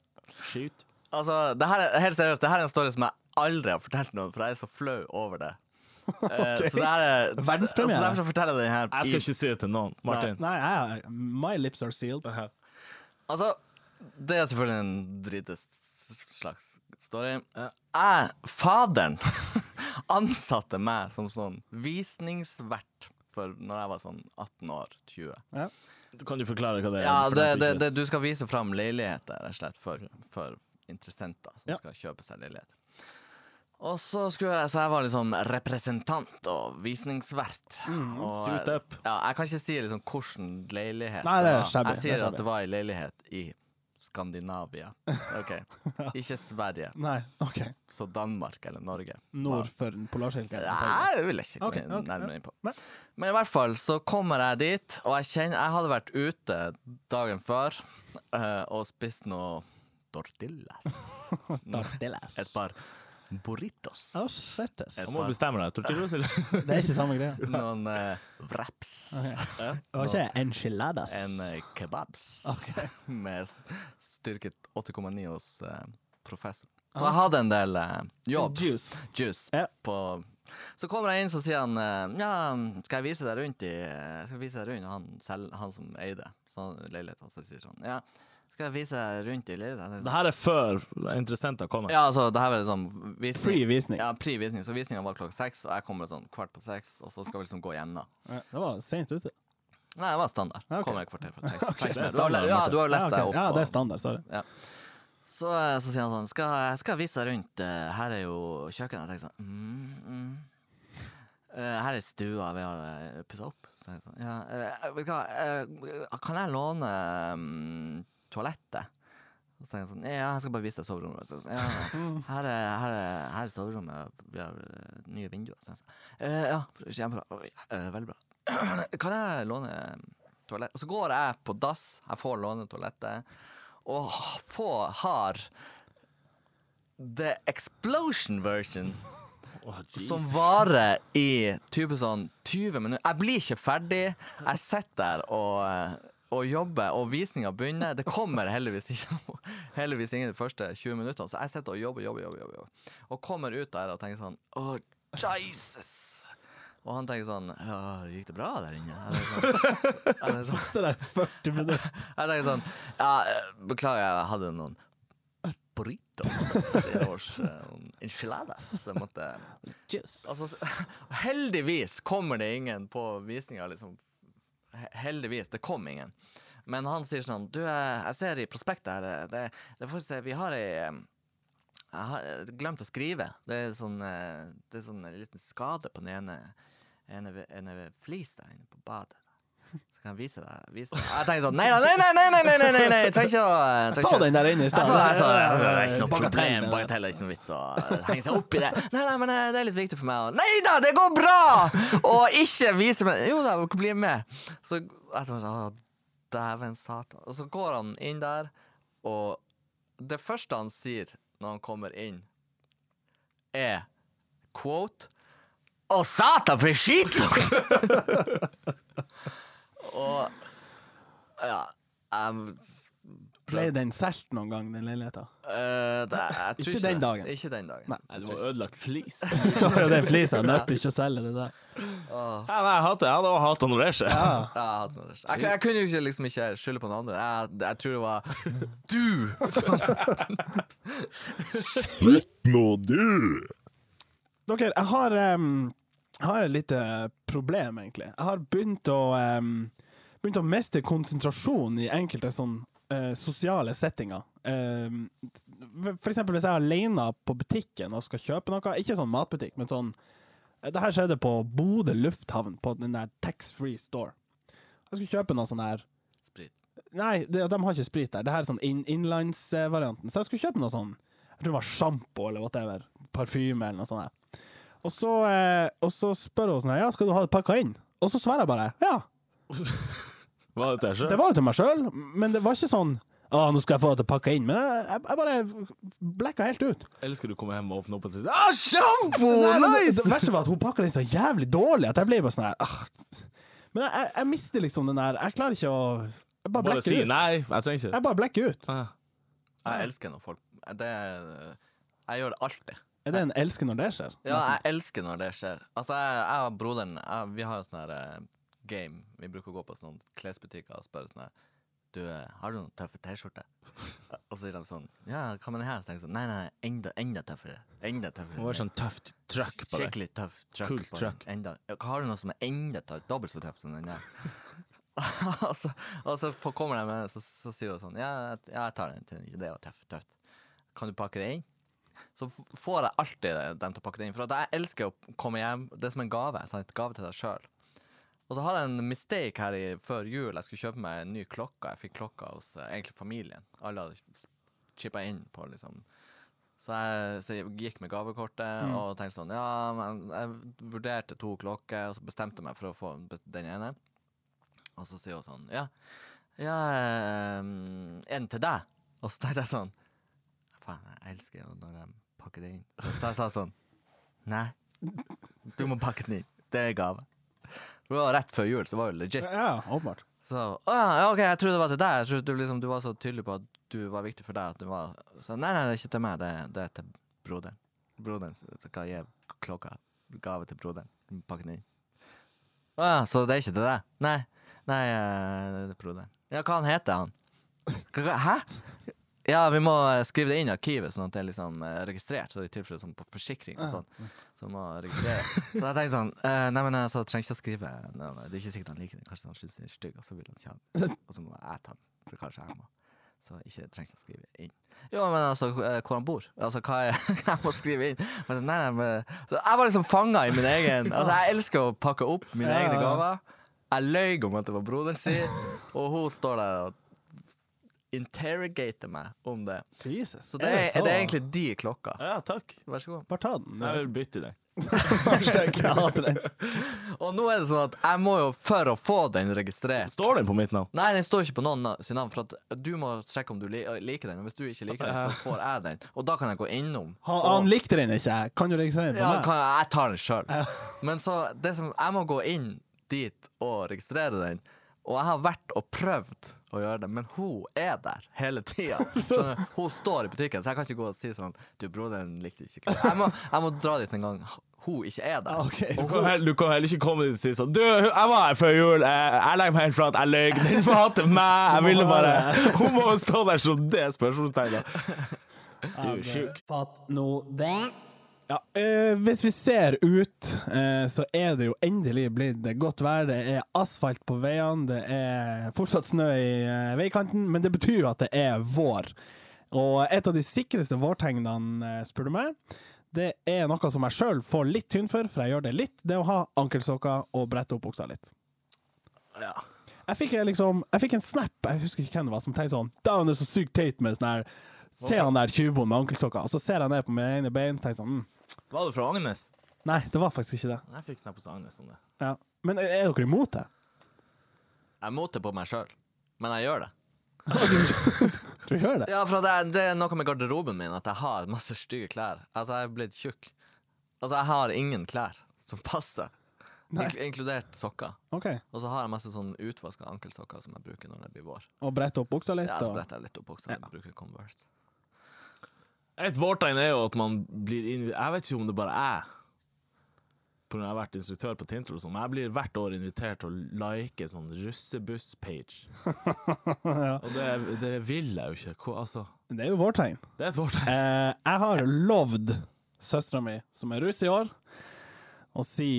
Speaker 2: Skyt.
Speaker 3: Altså, det her er helt seriøst, det her er en story som jeg aldri har fortalt noen, for jeg er så flau over det. *laughs* Eh, Så det her er
Speaker 1: Verdenspremiere.
Speaker 3: Så derfor så forteller jeg den her.
Speaker 2: Jeg skal
Speaker 3: i-
Speaker 2: ikke si det til noen. Martin.
Speaker 1: Nei, jeg, my lips are sealed.
Speaker 3: Altså, det er selvfølgelig en drites slags story. Jeg, faderen, *laughs* ansatte meg som sånn visningsvert for når jeg var sånn 18 år, 20.
Speaker 1: Ja.
Speaker 2: Kan du forklare hva det er?
Speaker 3: Ja,
Speaker 2: for
Speaker 3: det,
Speaker 2: dem som
Speaker 3: det,
Speaker 2: ikke-
Speaker 3: det, du skal vise fram leiligheter, rett og slett, for, for interessenter som
Speaker 1: Ja.
Speaker 3: skal kjøpe seg leilighet. Og så skulle jeg, så jeg var liksom representant og visningsvert.
Speaker 1: Mm,
Speaker 3: og,
Speaker 2: suit up.
Speaker 3: Ja, jeg kan ikke si liksom hvordan leilighet
Speaker 1: Nei, det er
Speaker 3: var.
Speaker 1: shabby,
Speaker 3: Jeg
Speaker 1: det er
Speaker 3: sier
Speaker 1: shabby.
Speaker 3: at det var ei leilighet i
Speaker 1: *laughs*
Speaker 3: Skandinavia. Ok, Ikke Sverige,
Speaker 1: Nei, OK.
Speaker 3: så Danmark eller Norge.
Speaker 1: Nord for polarsirkelen.
Speaker 3: Nei, det vil jeg ikke gå
Speaker 1: Ok,
Speaker 3: inn-
Speaker 1: ok,
Speaker 3: nærmere
Speaker 1: ja.
Speaker 3: inn på.
Speaker 1: Nei.
Speaker 3: Men i hvert fall så kommer jeg dit, og jeg kjenner Jeg hadde vært ute dagen før eh, og spist noe tortillas.
Speaker 1: Tortillas.
Speaker 3: Et par burritos.
Speaker 1: Å, svettes.
Speaker 2: Du må bestemme deg. Tortillos eller
Speaker 1: Det er ikke samme
Speaker 2: *laughs*
Speaker 1: greia. Det
Speaker 3: Noen eh, wraps.
Speaker 1: var ikke enchiladas.
Speaker 3: En eh, kebabs. *laughs* Med s- styrket 8,9 hos eh, professor. Så
Speaker 1: Ah.
Speaker 3: jeg hadde en del eh, jobb.
Speaker 1: Juice.
Speaker 3: juice
Speaker 1: Ja.
Speaker 3: på Så kommer jeg inn, så sier han eh, Ja, skal jeg vise deg rundt i Skal jeg vise deg rundt han, selv, han som eide så leiligheten? Så sier han ja, skal jeg vise deg rundt i leiligheten?
Speaker 2: Det her er før interessenter kommer.
Speaker 3: Ja, altså, det her var liksom visning.
Speaker 1: Pre-visning.
Speaker 3: Ja, pre-visning. Så visninga var klokka seks, og jeg kommer sånn kvart på seks, og så skal vi liksom gå gjennom.
Speaker 1: Det var seint ute.
Speaker 3: Nei, det var standard.
Speaker 1: Ja, *laughs* ok.
Speaker 3: Kommer et kvarter fra seks. Trenger ikke
Speaker 2: det er
Speaker 3: mer. Da har le-
Speaker 1: Ja,
Speaker 2: standard, Martin.
Speaker 3: ja, du har jo lest
Speaker 1: ok.
Speaker 3: deg opp.
Speaker 1: ja,
Speaker 3: på-
Speaker 1: det er standard. Sorry.
Speaker 3: Så, så sier han sånn Skal jeg skal vise deg rundt eh, Her er jo kjøkkenet Jeg tenker sånn mm, mm. Eh, Her er stua vi har uh, pusset opp Så jeg sånn ja, eh, vet du hva, eh, Kan jeg låne mm, toalettet? Så tenker jeg sånn Ja, jeg skal bare vise deg soverommet så, ja, her, er, her, er, her er soverommet Vi har eh, nye vinduer så jeg sånn, eh, Ja, kjempebra Oi, eh, Veldig bra Kan jeg låne toalett? Og så går jeg på dass Jeg får låne toalettet og ha- få har the explosion version, som varer i type sånn 20 minutter. Jeg blir ikke ferdig. Jeg sitter der og, eh, og jobber, og visninga begynner. Det kommer heldigvis ikke noe- heldigvis ingen de første 20 minuttene, så jeg sitter og jobber, jobber, jobber. jobber. Og kommer ut der og tenker sånn Å, Jesus! Og han tenker sånn Ja, gikk det bra der inne? Jeg tenker sånn, jeg tenker sånn,
Speaker 1: Det der 40
Speaker 3: *laughs*
Speaker 1: minutter.
Speaker 3: jeg tenker sånn ja, eh, Beklager, jeg hadde noen burritos i års eh, noen enchiladas. Jeg måtte
Speaker 1: Juice.
Speaker 3: altså, s- *laughs* Heldigvis kommer det ingen på visninga, liksom. He- Heldigvis. Det kom ingen. Men han sier sånn Du, eh, jeg ser i prospektet her eh, det, det får vi se, Vi har ei eh, Jeg har eh, glemt å skrive. Det er sånn eh, Det er sånn en liten skade på den ene ene, ve- ene ve- flis der inne på badet. Så kan jeg vise deg vise deg. Jeg tenker sånn Nei, nei, nei, nei, nei, nei, nei, nei, nei. jeg trenger ikke å eh, jeg trenger
Speaker 1: Så
Speaker 3: ikke-
Speaker 1: den der inne i
Speaker 3: jeg
Speaker 1: stad.
Speaker 3: så, jeg så, jeg så, Altså, det er ikke noe
Speaker 1: Bagatell.
Speaker 3: problem. Bagatell er ikke noe vits å henge seg opp i det. *laughs* Nei, nei, men eh, det er litt viktig for meg. å- Nei da, det går bra! Og ikke vise meg Jo da, bli med. Så jeg tenkte sånn «Å, Dæven satan. Og så går han inn der, og det første han sier når han kommer inn, er quote Å, satan, for en skitlukt! *laughs* og Ja, jeg
Speaker 1: Ble den solgt noen gang, den
Speaker 3: *laughs*
Speaker 1: leiligheten? *laughs*
Speaker 3: eh, det, jeg tror
Speaker 1: Ikke den
Speaker 3: det.
Speaker 1: dagen.
Speaker 3: Ikke den dagen.
Speaker 1: Nei.
Speaker 2: Nei, det var ødelagt flis.
Speaker 1: det er flisa, nødt til ikke å selge det der.
Speaker 3: Åh,
Speaker 2: *laughs* Ja, nei, jeg hater det. Jeg hadde også hatt det når det skjer.
Speaker 1: Ja.
Speaker 3: jeg, har hatt noe der. jeg, jeg kunne jo ikke, liksom ikke skylde på noen andre. Jeg, jeg tror det var du som
Speaker 1: Dere, jeg har, em, jeg har et lite problem, egentlig. Jeg har begynt å, em, begynt å miste konsentrasjon i enkelte sånn eh, sosiale settinger. Em, for eksempel hvis jeg er alene på butikken og skal kjøpe noe, ikke sånn matbutikk, men sånn Det her skjedde på Bodø lufthavn, på den der tax-free store. Jeg skulle kjøpe noe sånn her
Speaker 3: Sprit.
Speaker 1: Nei, de, de har ikke sprit der. Det her er sånn inn- innlandsvarianten. Så jeg skulle kjøpe noe sånn Jeg tror det var sjampo eller whatever. Parfyme eller noe sånt. der. Og så, eh, og så spør hun sånn her, Ja, skal du ha det pakka inn? Og så svarer jeg bare ja.
Speaker 2: Var det det
Speaker 1: Det
Speaker 2: skjer?
Speaker 1: var jo til meg sjøl, men det var ikke sånn å, nå skal jeg få det pakka inn. Men jeg, jeg, jeg bare blekka helt ut.
Speaker 2: Eller skulle du komme hjem og åpne opp og si ah, Sjampo!
Speaker 1: Nei, men det- Det
Speaker 2: Nice!
Speaker 1: verste var at hun pakka den så jævlig dårlig at jeg ble bare sånn her ah. Men jeg, jeg, jeg mister liksom den der Jeg klarer ikke å Jeg bare
Speaker 2: Bare
Speaker 1: blekker
Speaker 2: si
Speaker 1: ut.
Speaker 2: nei. Jeg trenger ikke
Speaker 1: Jeg bare blekker ut.
Speaker 2: Ah.
Speaker 3: Jeg elsker når folk det, er- Jeg gjør det alltid.
Speaker 1: Er det en elsker når det skjer?
Speaker 3: Ja, jeg elsker når det skjer. Altså, jeg, jeg og broderen jeg, Vi har jo sånn her eh, game. Vi bruker å gå på sånne klesbutikker og spørre sånn her Du, eh, har du noen tøffe T-skjorter? Og så sier de sånn Ja, hva med den her? Så tenker jeg sånn Nei, nei, enda, enda tøffere. Enda
Speaker 2: Det var
Speaker 3: tøffere.
Speaker 2: sånn tøft trøkk på deg.
Speaker 3: Skikkelig tøff truck.
Speaker 2: Kult
Speaker 3: på den.
Speaker 2: truck.
Speaker 3: Enda, ja, har du noe som er enda tøff, dobbelt så tøff som den der? *laughs* og så, og så får- kommer de med den, så, så sier hun sånn ja, jeg- ja, jeg tar den. til- Det var tøft. tøft. Kan du pakke det inn? Så f- får jeg alltid dem til å pakke det inn. For at jeg elsker å komme hjem. Det er som en gave. Sant? Gave til deg sjøl. Og så hadde jeg en mistake her i, før jul. Jeg skulle kjøpe meg en ny klokke. Jeg fikk klokka hos eh, egentlig familien. Alle hadde chippa inn på, liksom. Så jeg, så jeg gikk med gavekortet og tenkte sånn Ja, men jeg vurderte to klokker, og så bestemte jeg meg for å få be- den ene. Og så sier hun sånn Ja, ja eh, en til deg. Og så tenkte jeg sånn Faen, jeg elsker jo når de pakker det inn. Så jeg sa sånn Nei, du må pakke den inn. Det er gave. Det var rett før jul, så det var jo legit.
Speaker 1: Ja, åpenbart.
Speaker 3: Så, å ja, ja, ok, jeg trodde det var til deg. Jeg trodde du, liksom, du var så tydelig på at du var viktig for deg. At du var, så, nei, nei, det er ikke til meg, det, det er til broderen. Broderen skal gi klokka gave til broderen. Pakke den inn. Å ja, så det er ikke til deg? Nei, nei, eh, det er til broderen. Ja, hva han heter han? Hva- hva- Hæ? Ja, vi må eh, skrive det inn i arkivet, sånn at det er liksom eh, registrert. Så i tilfelle sånn på forsikring og sånn. Så må jeg registrere. Så jeg tenkte sånn eh, Nei, men altså, trenger ikke å skrive. Nei, nei, det er ikke sikkert han liker den. Kanskje han synes den er stygg, og så vil han ikke ha den. Og så må jeg ta den. Så kanskje jeg må. Så ikke trenger ikke å skrive inn. Jo, men altså, eh, hvor han bor? Altså, hva er *laughs* jeg må skrive inn? Men, nei, nei, men, så jeg var liksom fanga i min egen Altså, jeg elsker å pakke opp mine
Speaker 1: Ja, ja,
Speaker 3: egne
Speaker 1: ja.
Speaker 3: gaver. Jeg løy om at det var broderen sin, og hun står der og interrogater meg om det.
Speaker 1: Jesus.
Speaker 3: Så det er,
Speaker 1: så-
Speaker 3: det er egentlig de klokka.
Speaker 2: Ja, takk.
Speaker 3: Vær så god.
Speaker 1: Bare ta den.
Speaker 2: Jeg vil bytte i deg.
Speaker 1: *laughs* Hashtag jeg hater den.
Speaker 3: Og nå er det sånn at jeg må jo for å få den registrert
Speaker 2: Står den på mitt navn?
Speaker 3: Nei, den står ikke på noen na- sin navn, for at du må sjekke om du li liker den. Og hvis du ikke liker den, så får jeg den. Og da kan jeg gå innom.
Speaker 1: Han,
Speaker 3: og,
Speaker 1: han likte den ikke. jeg. Kan du registrere den på
Speaker 3: ja,
Speaker 1: meg?
Speaker 3: kan, jeg tar den sjøl. Men så det som, Jeg må gå inn dit og registrere den. Og jeg har vært og prøvd å gjøre det, men hun er der hele tida.
Speaker 1: *laughs*
Speaker 3: Hun står i butikken, så jeg kan ikke gå og si sånn Du, broderen likte ikke klær. Jeg, må- jeg må dra dit en gang hun ikke er der.
Speaker 1: Ok.
Speaker 2: Du kan, heller, du kan heller ikke komme dit og si sånn Du, jeg var her før jul. Jeg, jeg legger meg helt flat. Jeg løy. Den hater meg. Jeg ville bare *laughs* Hun må stå der som det spørsmålstegnet. Du er sjuk.
Speaker 4: Fatt nå det.
Speaker 1: Ja, eh, hvis vi ser ut, eh, så er det jo endelig blitt det godt vær. Det er asfalt på veiene, det er fortsatt snø i eh, veikanten, men det betyr jo at det er vår. Og et av de sikreste vårtegnene, eh, spør du meg, det er noe som jeg sjøl får litt tynn for, for jeg gjør det litt, det er å ha ankelsokker og brette opp buksa litt.
Speaker 2: Ja.
Speaker 1: Jeg fikk, eh, liksom, jeg fikk en snap, jeg husker ikke hvem det var, som tenkte sånn Da er det så sykt teit med sånn her Se han der tjuvbonden med ankelsokker, og så ser jeg ned på mine egne bein og tenker sånn mm.
Speaker 2: Var det fra Agnes?
Speaker 1: Nei, det var faktisk ikke det.
Speaker 2: Jeg fikk snap hos Agnes om det.
Speaker 1: Ja. Men er er dere imot det?
Speaker 3: Jeg moter på meg sjøl, men jeg gjør det.
Speaker 1: Tror du gjør det?
Speaker 3: Ja, for det er, det er noe med garderoben min at jeg har masse stygge klær. Altså, jeg er blitt tjukk. Altså, jeg har ingen klær som passer.
Speaker 1: Nei.
Speaker 3: ink- inkludert sokker.
Speaker 1: OK.
Speaker 3: Og så har jeg masse sånn utvaska ankelsokker som jeg bruker når det blir vår.
Speaker 1: Og brette opp buksa litt.
Speaker 3: Ja, så
Speaker 1: og-
Speaker 3: bretter jeg litt opp også, jeg bruker Converse.
Speaker 2: Et vårtegn er jo at man blir invi- Jeg vet ikke om det bare er På grunn av at jeg har vært instruktør på Tintel og sånn, men jeg blir hvert år invitert til å like sånn russebuss-page. Og det, det vil jeg jo ikke. Hvor, altså,
Speaker 1: Det er jo vår tegn.
Speaker 2: det er et vårtegn.
Speaker 1: Eh, jeg har lovd søstera mi, som er russ i år, å si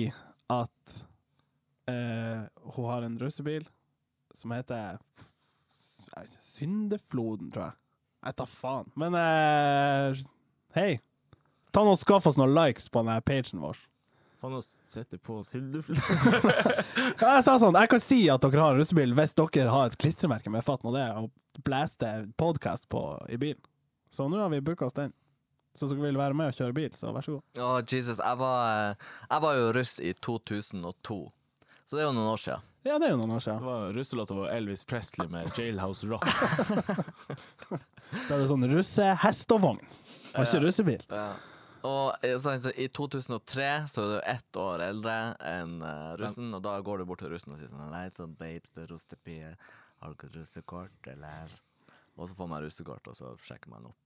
Speaker 1: at eh, hun har en russebil som heter nei, Syndefloden, tror jeg. Jeg tar faen. Men eh, hei, ta nå og skaff oss noen likes på denne pagen vår.
Speaker 2: Faen, å sitte på sildefl...
Speaker 1: Ja, Jeg sa sånn, jeg kan si at dere har en russebil hvis dere har et klistremerke med fatt nå det, og blæste podcast på i bilen. Så nå har vi booka oss den. Så hvis dere vil være med og kjøre bil, så vær så god.
Speaker 3: Å, Jesus, jeg var, eh, jeg var jo russ i 2002, så det er jo noen år siden.
Speaker 1: Ja, det er jo noen år siden.
Speaker 2: Det var russelåta var Elvis Presley med 'Jailhouse *laughs* Rock'.
Speaker 1: Da er det sånn russehest og vogn. Var ikke russebil.
Speaker 3: Ja. Og eh, sant, så I 2003 så er du ett år eldre enn eh, russen, og da går du bort til russen og sier sånn Nei, sånn babes, det er russepie. Har dere russekort, eller? Og så får man russekort, og så sjekker man opp.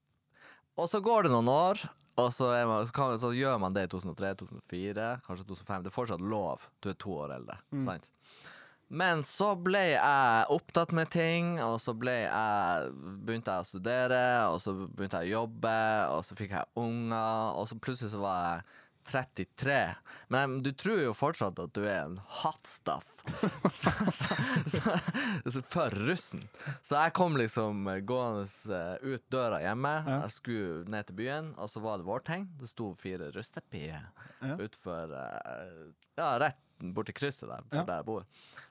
Speaker 3: Og så går det noen år, og så, er man, så, kan, så gjør man det i 2003, 2004, kanskje 2005. Det er fortsatt lov. Du er to år eldre. sant? Men så ble jeg opptatt med ting, og så ble jeg, begynte jeg å studere, og så begynte jeg å jobbe, og så fikk jeg unger, og så plutselig så var jeg 33. Men du tror jo fortsatt at du er en hotstuff. *laughs* så, så, så, så, for russen. Så jeg kom liksom eh, gående eh, ut døra hjemme. Jeg skulle ned til byen, og så var det vårtegn. Det sto fire rustepier utfor eh, Ja, rett borti krysset der, for
Speaker 1: Ja.
Speaker 3: der jeg bor.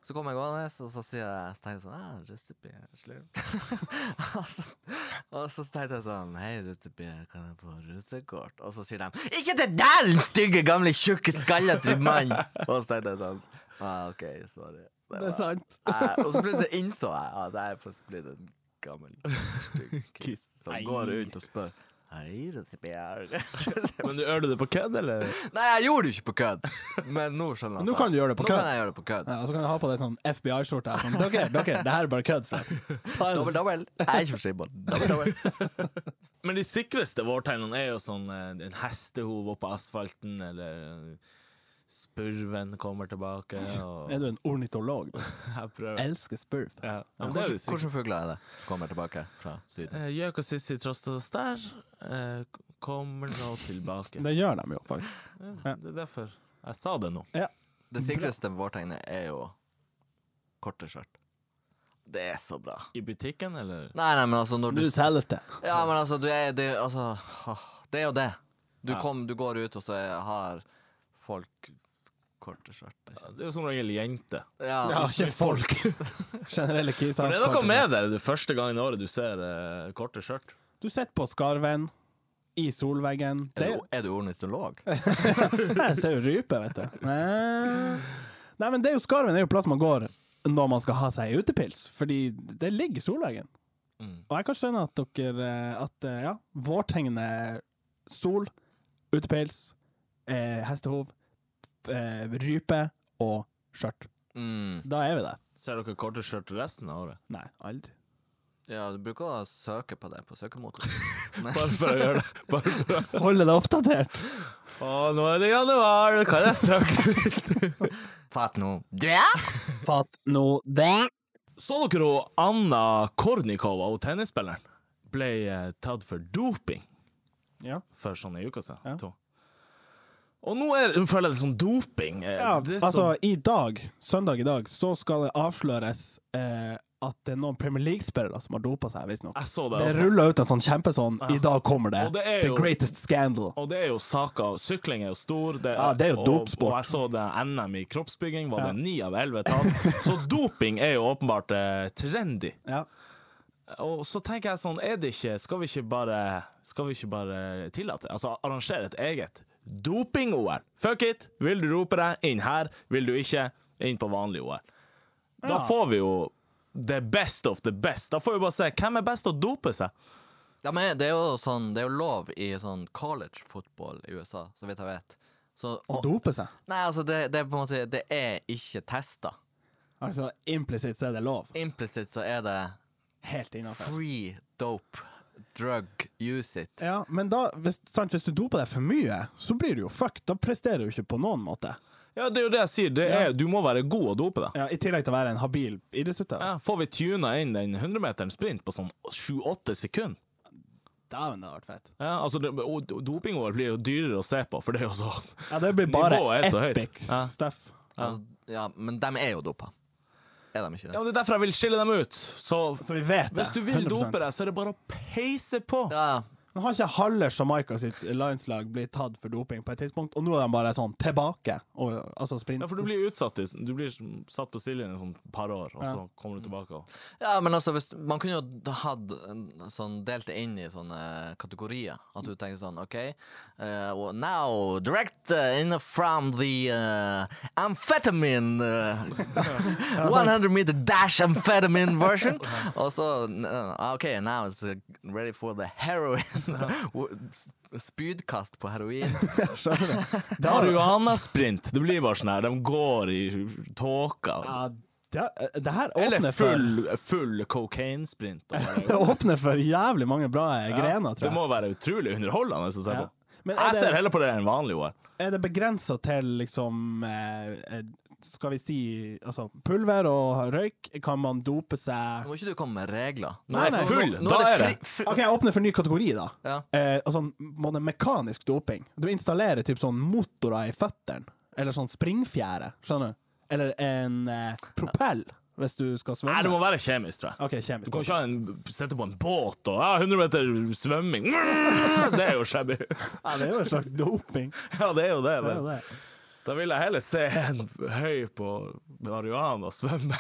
Speaker 3: Så kom jeg gående, og så sier jeg så tenkte jeg sånn ah, Rustepie, slurv. *laughs* og, så, og så tenkte jeg sånn Hei, Rustepie, kan jeg få russekort? Og så sier de Ikke det der, den stygge, gamle, tjukke, skallete mann! og så tenkte jeg sånn ah, OK, sorry. Det var-
Speaker 1: sant.
Speaker 3: Eh, og så plutselig innså jeg at jeg er faktisk blitt en gammel
Speaker 1: *laughs*
Speaker 3: stygg kiss som
Speaker 1: Nei.
Speaker 3: går rundt og spør Hei, Rustepie.
Speaker 2: Men du gjør du det på kødd, eller?
Speaker 3: *laughs* Nei, jeg gjorde det jo ikke på kødd, men nå skjønner jeg
Speaker 1: Nå kan du gjøre det på
Speaker 3: Nå
Speaker 1: kødd.
Speaker 3: kan jeg gjøre det på kødd.
Speaker 1: Ja, og så kan du ha på deg sånn FBI-skjorte. her, Sånn, dere, dere, det her er bare kødd, forresten. Ta en-
Speaker 3: Dobbel, dobbel. Jeg er ikke for skibbold. Dobbel, dobbel. *laughs*
Speaker 2: Men de sikreste vårtegnene er jo sånn eh, en hestehov oppå asfalten, eller eh, spurven kommer *laughs* tilbake, og
Speaker 1: Er du en ornitolog? du?
Speaker 2: jeg prøver.
Speaker 1: Elsker spurv.
Speaker 2: Ja. Ja, men det er jo
Speaker 3: Hvordan,
Speaker 2: sikkert.
Speaker 3: hvordan fugler er det som kommer tilbake fra Syden?
Speaker 2: Eh, Gjøk og Sissi Trostas der eh, k- kommer nå tilbake.
Speaker 1: Det gjør de jo, faktisk.
Speaker 2: Ja, det er derfor jeg sa det nå.
Speaker 1: Ja.
Speaker 3: Det sikreste vårtegnet er jo korte skjørt. Det er så bra.
Speaker 2: I butikken, eller?
Speaker 3: Nei, nei, men altså når du
Speaker 1: Nå selges det.
Speaker 3: Ja, men altså, du er det, altså, åh, det er jo det. Du,
Speaker 2: Ja.
Speaker 3: kom, du går ut, og så er- har folk korte skjørt. det er ikke-
Speaker 2: Det er jo som regel jenter.
Speaker 3: Ja,
Speaker 1: Ja, ikke folk. Generelle kiser.
Speaker 2: Men det er noe med det, det første gangen i året du ser eh, korte skjørt.
Speaker 1: Du sitter på skarven, i solveggen.
Speaker 3: Er,
Speaker 1: Det
Speaker 3: du, er du ornitolog?
Speaker 1: *laughs* Jeg ser jo rype, vet du. Eh, Nei, men det er jo skarven det er jo plass man går når man skal ha seg ei utepils, fordi det ligger i solveggen.
Speaker 2: Mm.
Speaker 1: Og jeg kan skjønne at dere eh, At eh, ja, vårtegnet sol, utepils, eh, hestehov, eh, rype og skjørt.
Speaker 3: Mm.
Speaker 1: Da er vi der.
Speaker 2: Ser dere korte skjørt resten av året?
Speaker 1: Nei, aldri.
Speaker 3: Ja, du bruker å søke på det på *laughs* søkemotoren.
Speaker 2: Bare for å gjøre det. Bare for å...
Speaker 1: Holde deg oppdatert.
Speaker 2: Å, nå er det januar, kan jeg søke litt?
Speaker 3: Fatt nå. Du er?
Speaker 1: Fatt nå det.
Speaker 2: Så dere hun Anna Kornikova, hun tennisspilleren, ble eh, tatt for doping
Speaker 1: Ja.
Speaker 2: for sånn ei uke siden?
Speaker 1: Ja.
Speaker 2: To. Og nå er, hun føler jeg det som doping. eh,
Speaker 1: Ja,
Speaker 2: det er
Speaker 1: altså,
Speaker 2: så,
Speaker 1: i dag, søndag i dag, så skal det avsløres eh, at det er noen Premier League-spillere som har dopa seg, visstnok.
Speaker 2: jeg så det,
Speaker 1: Det
Speaker 2: også.
Speaker 1: ruller ut en sånn kjempesånn I dag kommer det.
Speaker 2: altså. Ah. Og det er
Speaker 1: The
Speaker 2: jo-
Speaker 1: greatest scandal.
Speaker 2: Og det er jo saker Sykling er jo stor.
Speaker 1: Ja, det er jo dopsport.
Speaker 2: Og, og jeg så det NM i kroppsbygging, var det ni av elleve tall. Så
Speaker 1: *laughs*
Speaker 2: doping er jo åpenbart eh, trendy.
Speaker 1: Ja.
Speaker 2: Og så tenker jeg sånn, er det ikke Skal vi ikke bare, skal vi ikke bare tillate Altså arrangere et eget doping-OL? Fuck it! Vil du rope deg inn her, vil du ikke inn på vanlig OL? Da
Speaker 1: Ja.
Speaker 2: får vi jo the best of the best. Da får vi bare se hvem er best til å dope seg.
Speaker 3: Ja, men det er jo sånn, det er jo lov i sånn college football i USA, så vidt jeg vet, Så,
Speaker 1: Å
Speaker 3: og,
Speaker 1: dope seg?
Speaker 3: nei, altså, det, det er på en måte Det er ikke testa.
Speaker 1: Altså implisitt så er det lov.
Speaker 3: Implisitt så er det
Speaker 1: Helt innafor.
Speaker 3: free dope drug use it.
Speaker 1: Ja, men da, hvis, sant, hvis du doper deg for mye, så blir du jo fucked. Da presterer du ikke på noen måte.
Speaker 2: Ja, det er jo det jeg sier. Det er, Du må være god å dope deg.
Speaker 1: Ja, I tillegg til å være en habil idrettsutøver.
Speaker 2: Ja, får vi tuna inn den 100-meteren sprint på sånn 7-8 sekunder?
Speaker 1: Dæven, det hadde vært fett.
Speaker 2: Ja, altså, det- og do- Doping-OL blir jo dyrere å se på, for det er jo så
Speaker 1: Ja, det blir bare
Speaker 2: Nivået er så høyt.
Speaker 1: epic
Speaker 2: Ja.
Speaker 1: stuff.
Speaker 3: Altså, ja, men de er jo dopa. Er de ikke det?
Speaker 2: Ja, men Det er derfor jeg vil skille dem ut. Så,
Speaker 1: Så vi vet det.
Speaker 2: hvis du vil
Speaker 1: 100%.
Speaker 2: dope deg, så er det bare å peise på.
Speaker 3: Ja, ja.
Speaker 1: Nå har ikke halve Jamaica sitt landslag blitt tatt for doping på et tidspunkt, og nå er de bare sånn tilbake. Og, altså sprint.
Speaker 2: Ja, for du blir utsatt. i- Du blir satt på stillingen i sånn par år, og så kommer du tilbake. Og.
Speaker 3: Ja, men altså, hvis, man kunne jo hatt en sånn delt det inn i sånne kategorier. At du tenker sånn, OK eh, well, Now, direct eh, in from the eh, amphetamine
Speaker 2: *laughs* sånn.
Speaker 3: eh, 100 meter dash amphetamine version. Og så n- eh, OK, now it's eh, ready for the heroin.
Speaker 2: *laughs*
Speaker 3: S- Spydkast på heroin.
Speaker 1: Det har-
Speaker 2: Marihuana-sprint. Det blir bare sånn her. De går i tåka.
Speaker 1: Ja, det, det her
Speaker 2: Eller
Speaker 1: åpner for,
Speaker 2: full, full cocaine-sprint.
Speaker 1: *laughs*
Speaker 2: og bare-
Speaker 1: det åpner for jævlig mange bra eh, grener, tror jeg.
Speaker 2: Det må være utrolig underholdende å se
Speaker 1: Ja.
Speaker 2: på.
Speaker 1: Men er
Speaker 2: Jeg ser
Speaker 1: det,
Speaker 2: heller på det enn vanlig OL.
Speaker 1: er det begrensa til liksom eh, eh, Skal vi si altså, pulver og røyk? Kan man dope seg
Speaker 3: Nå må ikke du komme med regler. Nå
Speaker 2: Nei,
Speaker 3: er-
Speaker 2: nei.
Speaker 3: nå-
Speaker 2: Full,
Speaker 3: nå
Speaker 2: da er
Speaker 3: fri-
Speaker 2: det.
Speaker 3: fri-
Speaker 1: OK, jeg åpner for en ny kategori, da.
Speaker 3: Ja.
Speaker 1: Eh, altså både mekanisk doping. Du installerer typ sånn motorer i føttene. Eller sånn springfjære. Skjønner du? Eller en eh, propell, hvis du skal svømme.
Speaker 2: Nei, det må være kjemisk, tror jeg.
Speaker 1: OK,
Speaker 2: Du
Speaker 1: kjemisk.
Speaker 2: kan ikke ha en, sette på en båt og ja, 100 meter
Speaker 1: *laughs*
Speaker 2: svømming. Det er jo shabby.
Speaker 1: Ja, det er jo en slags
Speaker 2: *laughs*
Speaker 1: doping.
Speaker 2: Ja, det er jo det.
Speaker 1: Det er
Speaker 2: Men.
Speaker 1: jo det.
Speaker 2: Da vil jeg heller se en høy på marihuana svømme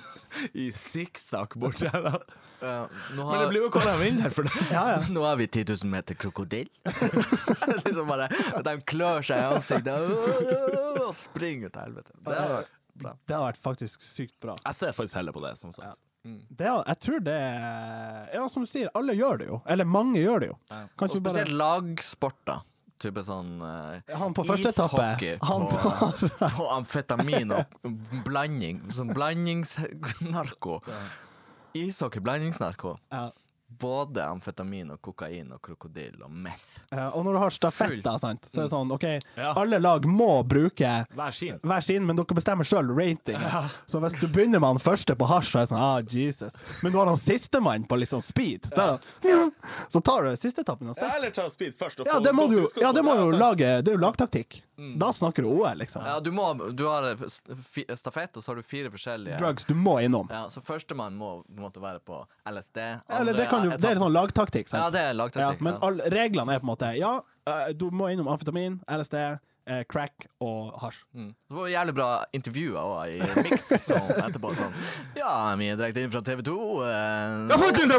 Speaker 2: *laughs* i sikksakk bort til henne.
Speaker 3: eh, nå
Speaker 2: Men
Speaker 3: har-
Speaker 2: det blir jo kåra vinner for det.
Speaker 1: Ja, ja.
Speaker 3: Nå har vi 10 000 meter krokodille. *laughs* Så liksom bare, de klør seg i ansiktet og- og springer til helvete. Det hadde vært bra.
Speaker 1: Det har vært faktisk sykt bra.
Speaker 2: Jeg ser faktisk heller på det, som sagt.
Speaker 1: Det, er- jeg tror det er- Ja, som du sier, alle gjør det jo. Eller mange gjør det jo.
Speaker 3: Og
Speaker 1: Kanskje vi Altså, bare
Speaker 3: spesielt lagsporter. Type sånn eh,
Speaker 1: Han på første
Speaker 3: ishockey
Speaker 1: etappe, han
Speaker 3: på, på amfetamin og blanding. Sånn blandingsnarko. Ishockey, blandingsnarko.
Speaker 1: ja.
Speaker 3: Både amfetamin og kokain og krokodille og meth.
Speaker 1: Ja, Eh, Og når du har stafetter,
Speaker 3: Full.
Speaker 1: sant, så er det sånn OK,
Speaker 2: Ja.
Speaker 1: alle lag må bruke
Speaker 2: Hver sin.
Speaker 1: hver sin, men dere bestemmer sjøl rating. Så hvis du begynner med han første på hasj, så er det sånn ah, Jesus. Men du har han sistemann på liksom speed. Da, *laughs* så tar du sisteetappen. og så-
Speaker 2: Eller ta speed først.
Speaker 1: Ja, det må du jo ja, det må jo lage Det er jo lagtaktikk.
Speaker 3: Mm.
Speaker 1: Da snakker du OL, liksom.
Speaker 3: Ja, du, må, du har eh, s- fi- stafett, og så har du fire forskjellige
Speaker 1: Drugs du må innom.
Speaker 3: Ja, så førstemann må på en måte være på LSD.
Speaker 1: Eller det, kan du, det er
Speaker 3: etappen-
Speaker 1: sånn lagtaktikk, sant?
Speaker 3: Ja, det er
Speaker 1: Ja,
Speaker 3: lagtaktikk.
Speaker 1: men
Speaker 3: ja.
Speaker 1: all, reglene er på en måte Ja, eh, du må innom amfetamin, LSD, eh, crack og hasj.
Speaker 2: Mm.
Speaker 3: Det var jævlig bra intervjuer òg, i
Speaker 1: *laughs*
Speaker 3: mix sånn etterpå. Sånn. Ja, vi er direkte inn fra TV 2. Eh, ja, ok, vi tar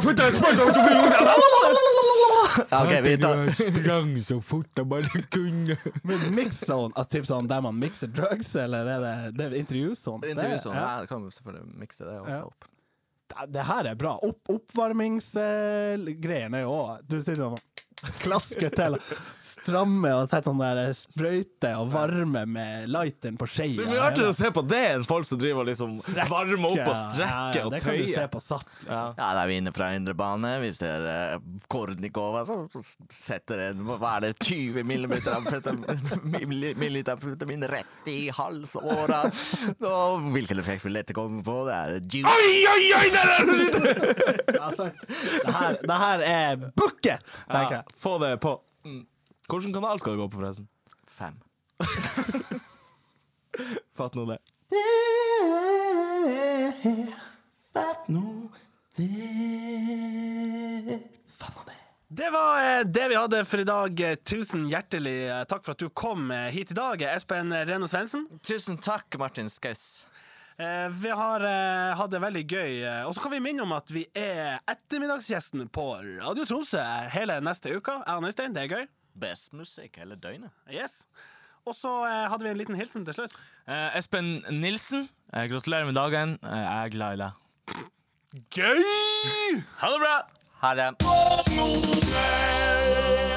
Speaker 2: sprang så fort jeg bare *laughs* kunne.
Speaker 1: Men mix zone, at typ sånn der man mikser drugs, eller er det, det er intervjuzone? Det-
Speaker 3: intervju sånn.
Speaker 1: ja.
Speaker 3: Ja, kan jo selvfølgelig mikse det også
Speaker 1: Ja.
Speaker 3: opp.
Speaker 1: Det- Det her er bra. Opp, Oppvarmingsgreiene er jo òg Du sitter sånn Klaske til, stramme og setter sånn der sprøyte og varme med lighteren på
Speaker 2: Det
Speaker 1: skeia.
Speaker 2: er mye artigere å se på det enn folk som driver og liksom varmer opp og strekker og
Speaker 1: Det kan du se
Speaker 2: tøyer.
Speaker 1: på sats, liksom.
Speaker 2: Ja.
Speaker 3: Ja, da er vi inne fra indre bane. Vi ser uh, Kornikova som setter en Hva er det, 20 millimeter amfetamin *laughs* milli- milliliter amfetamin rett i halsåra. Og hvilken effekt vil dette komme på? Det er juice.
Speaker 2: Oi, oi, oi! Der er det!
Speaker 1: Altså, det, her, det her er bucket, tenker jeg.
Speaker 2: Ja, få det på. Hvilken kanal skal det gå på, forresten?
Speaker 3: Fem.
Speaker 2: Fatt nå det.
Speaker 1: Det var eh, det vi hadde for i dag. Eh, Tusen hjertelig eh, takk for at du kom eh, hit i dag, Espen Reno Svendsen.
Speaker 3: Tusen takk, Martin Skaus.
Speaker 1: Eh, Vi har eh, hatt det veldig gøy. eh, Og så kan vi minne om at vi er ettermiddagsgjesten på Radio Tromsø eh, hele neste uke. Jeg og Øystein, det er gøy.
Speaker 3: Best musikk hele døgnet.
Speaker 1: Yes. Og så eh, hadde vi en liten hilsen til slutt.
Speaker 2: Eh, Espen Nilsen, eh, gratulerer med dagen. Eh, jeg er glad i deg.
Speaker 1: Gøy!
Speaker 2: Ha det bra!
Speaker 3: Ha det.
Speaker 2: Nå er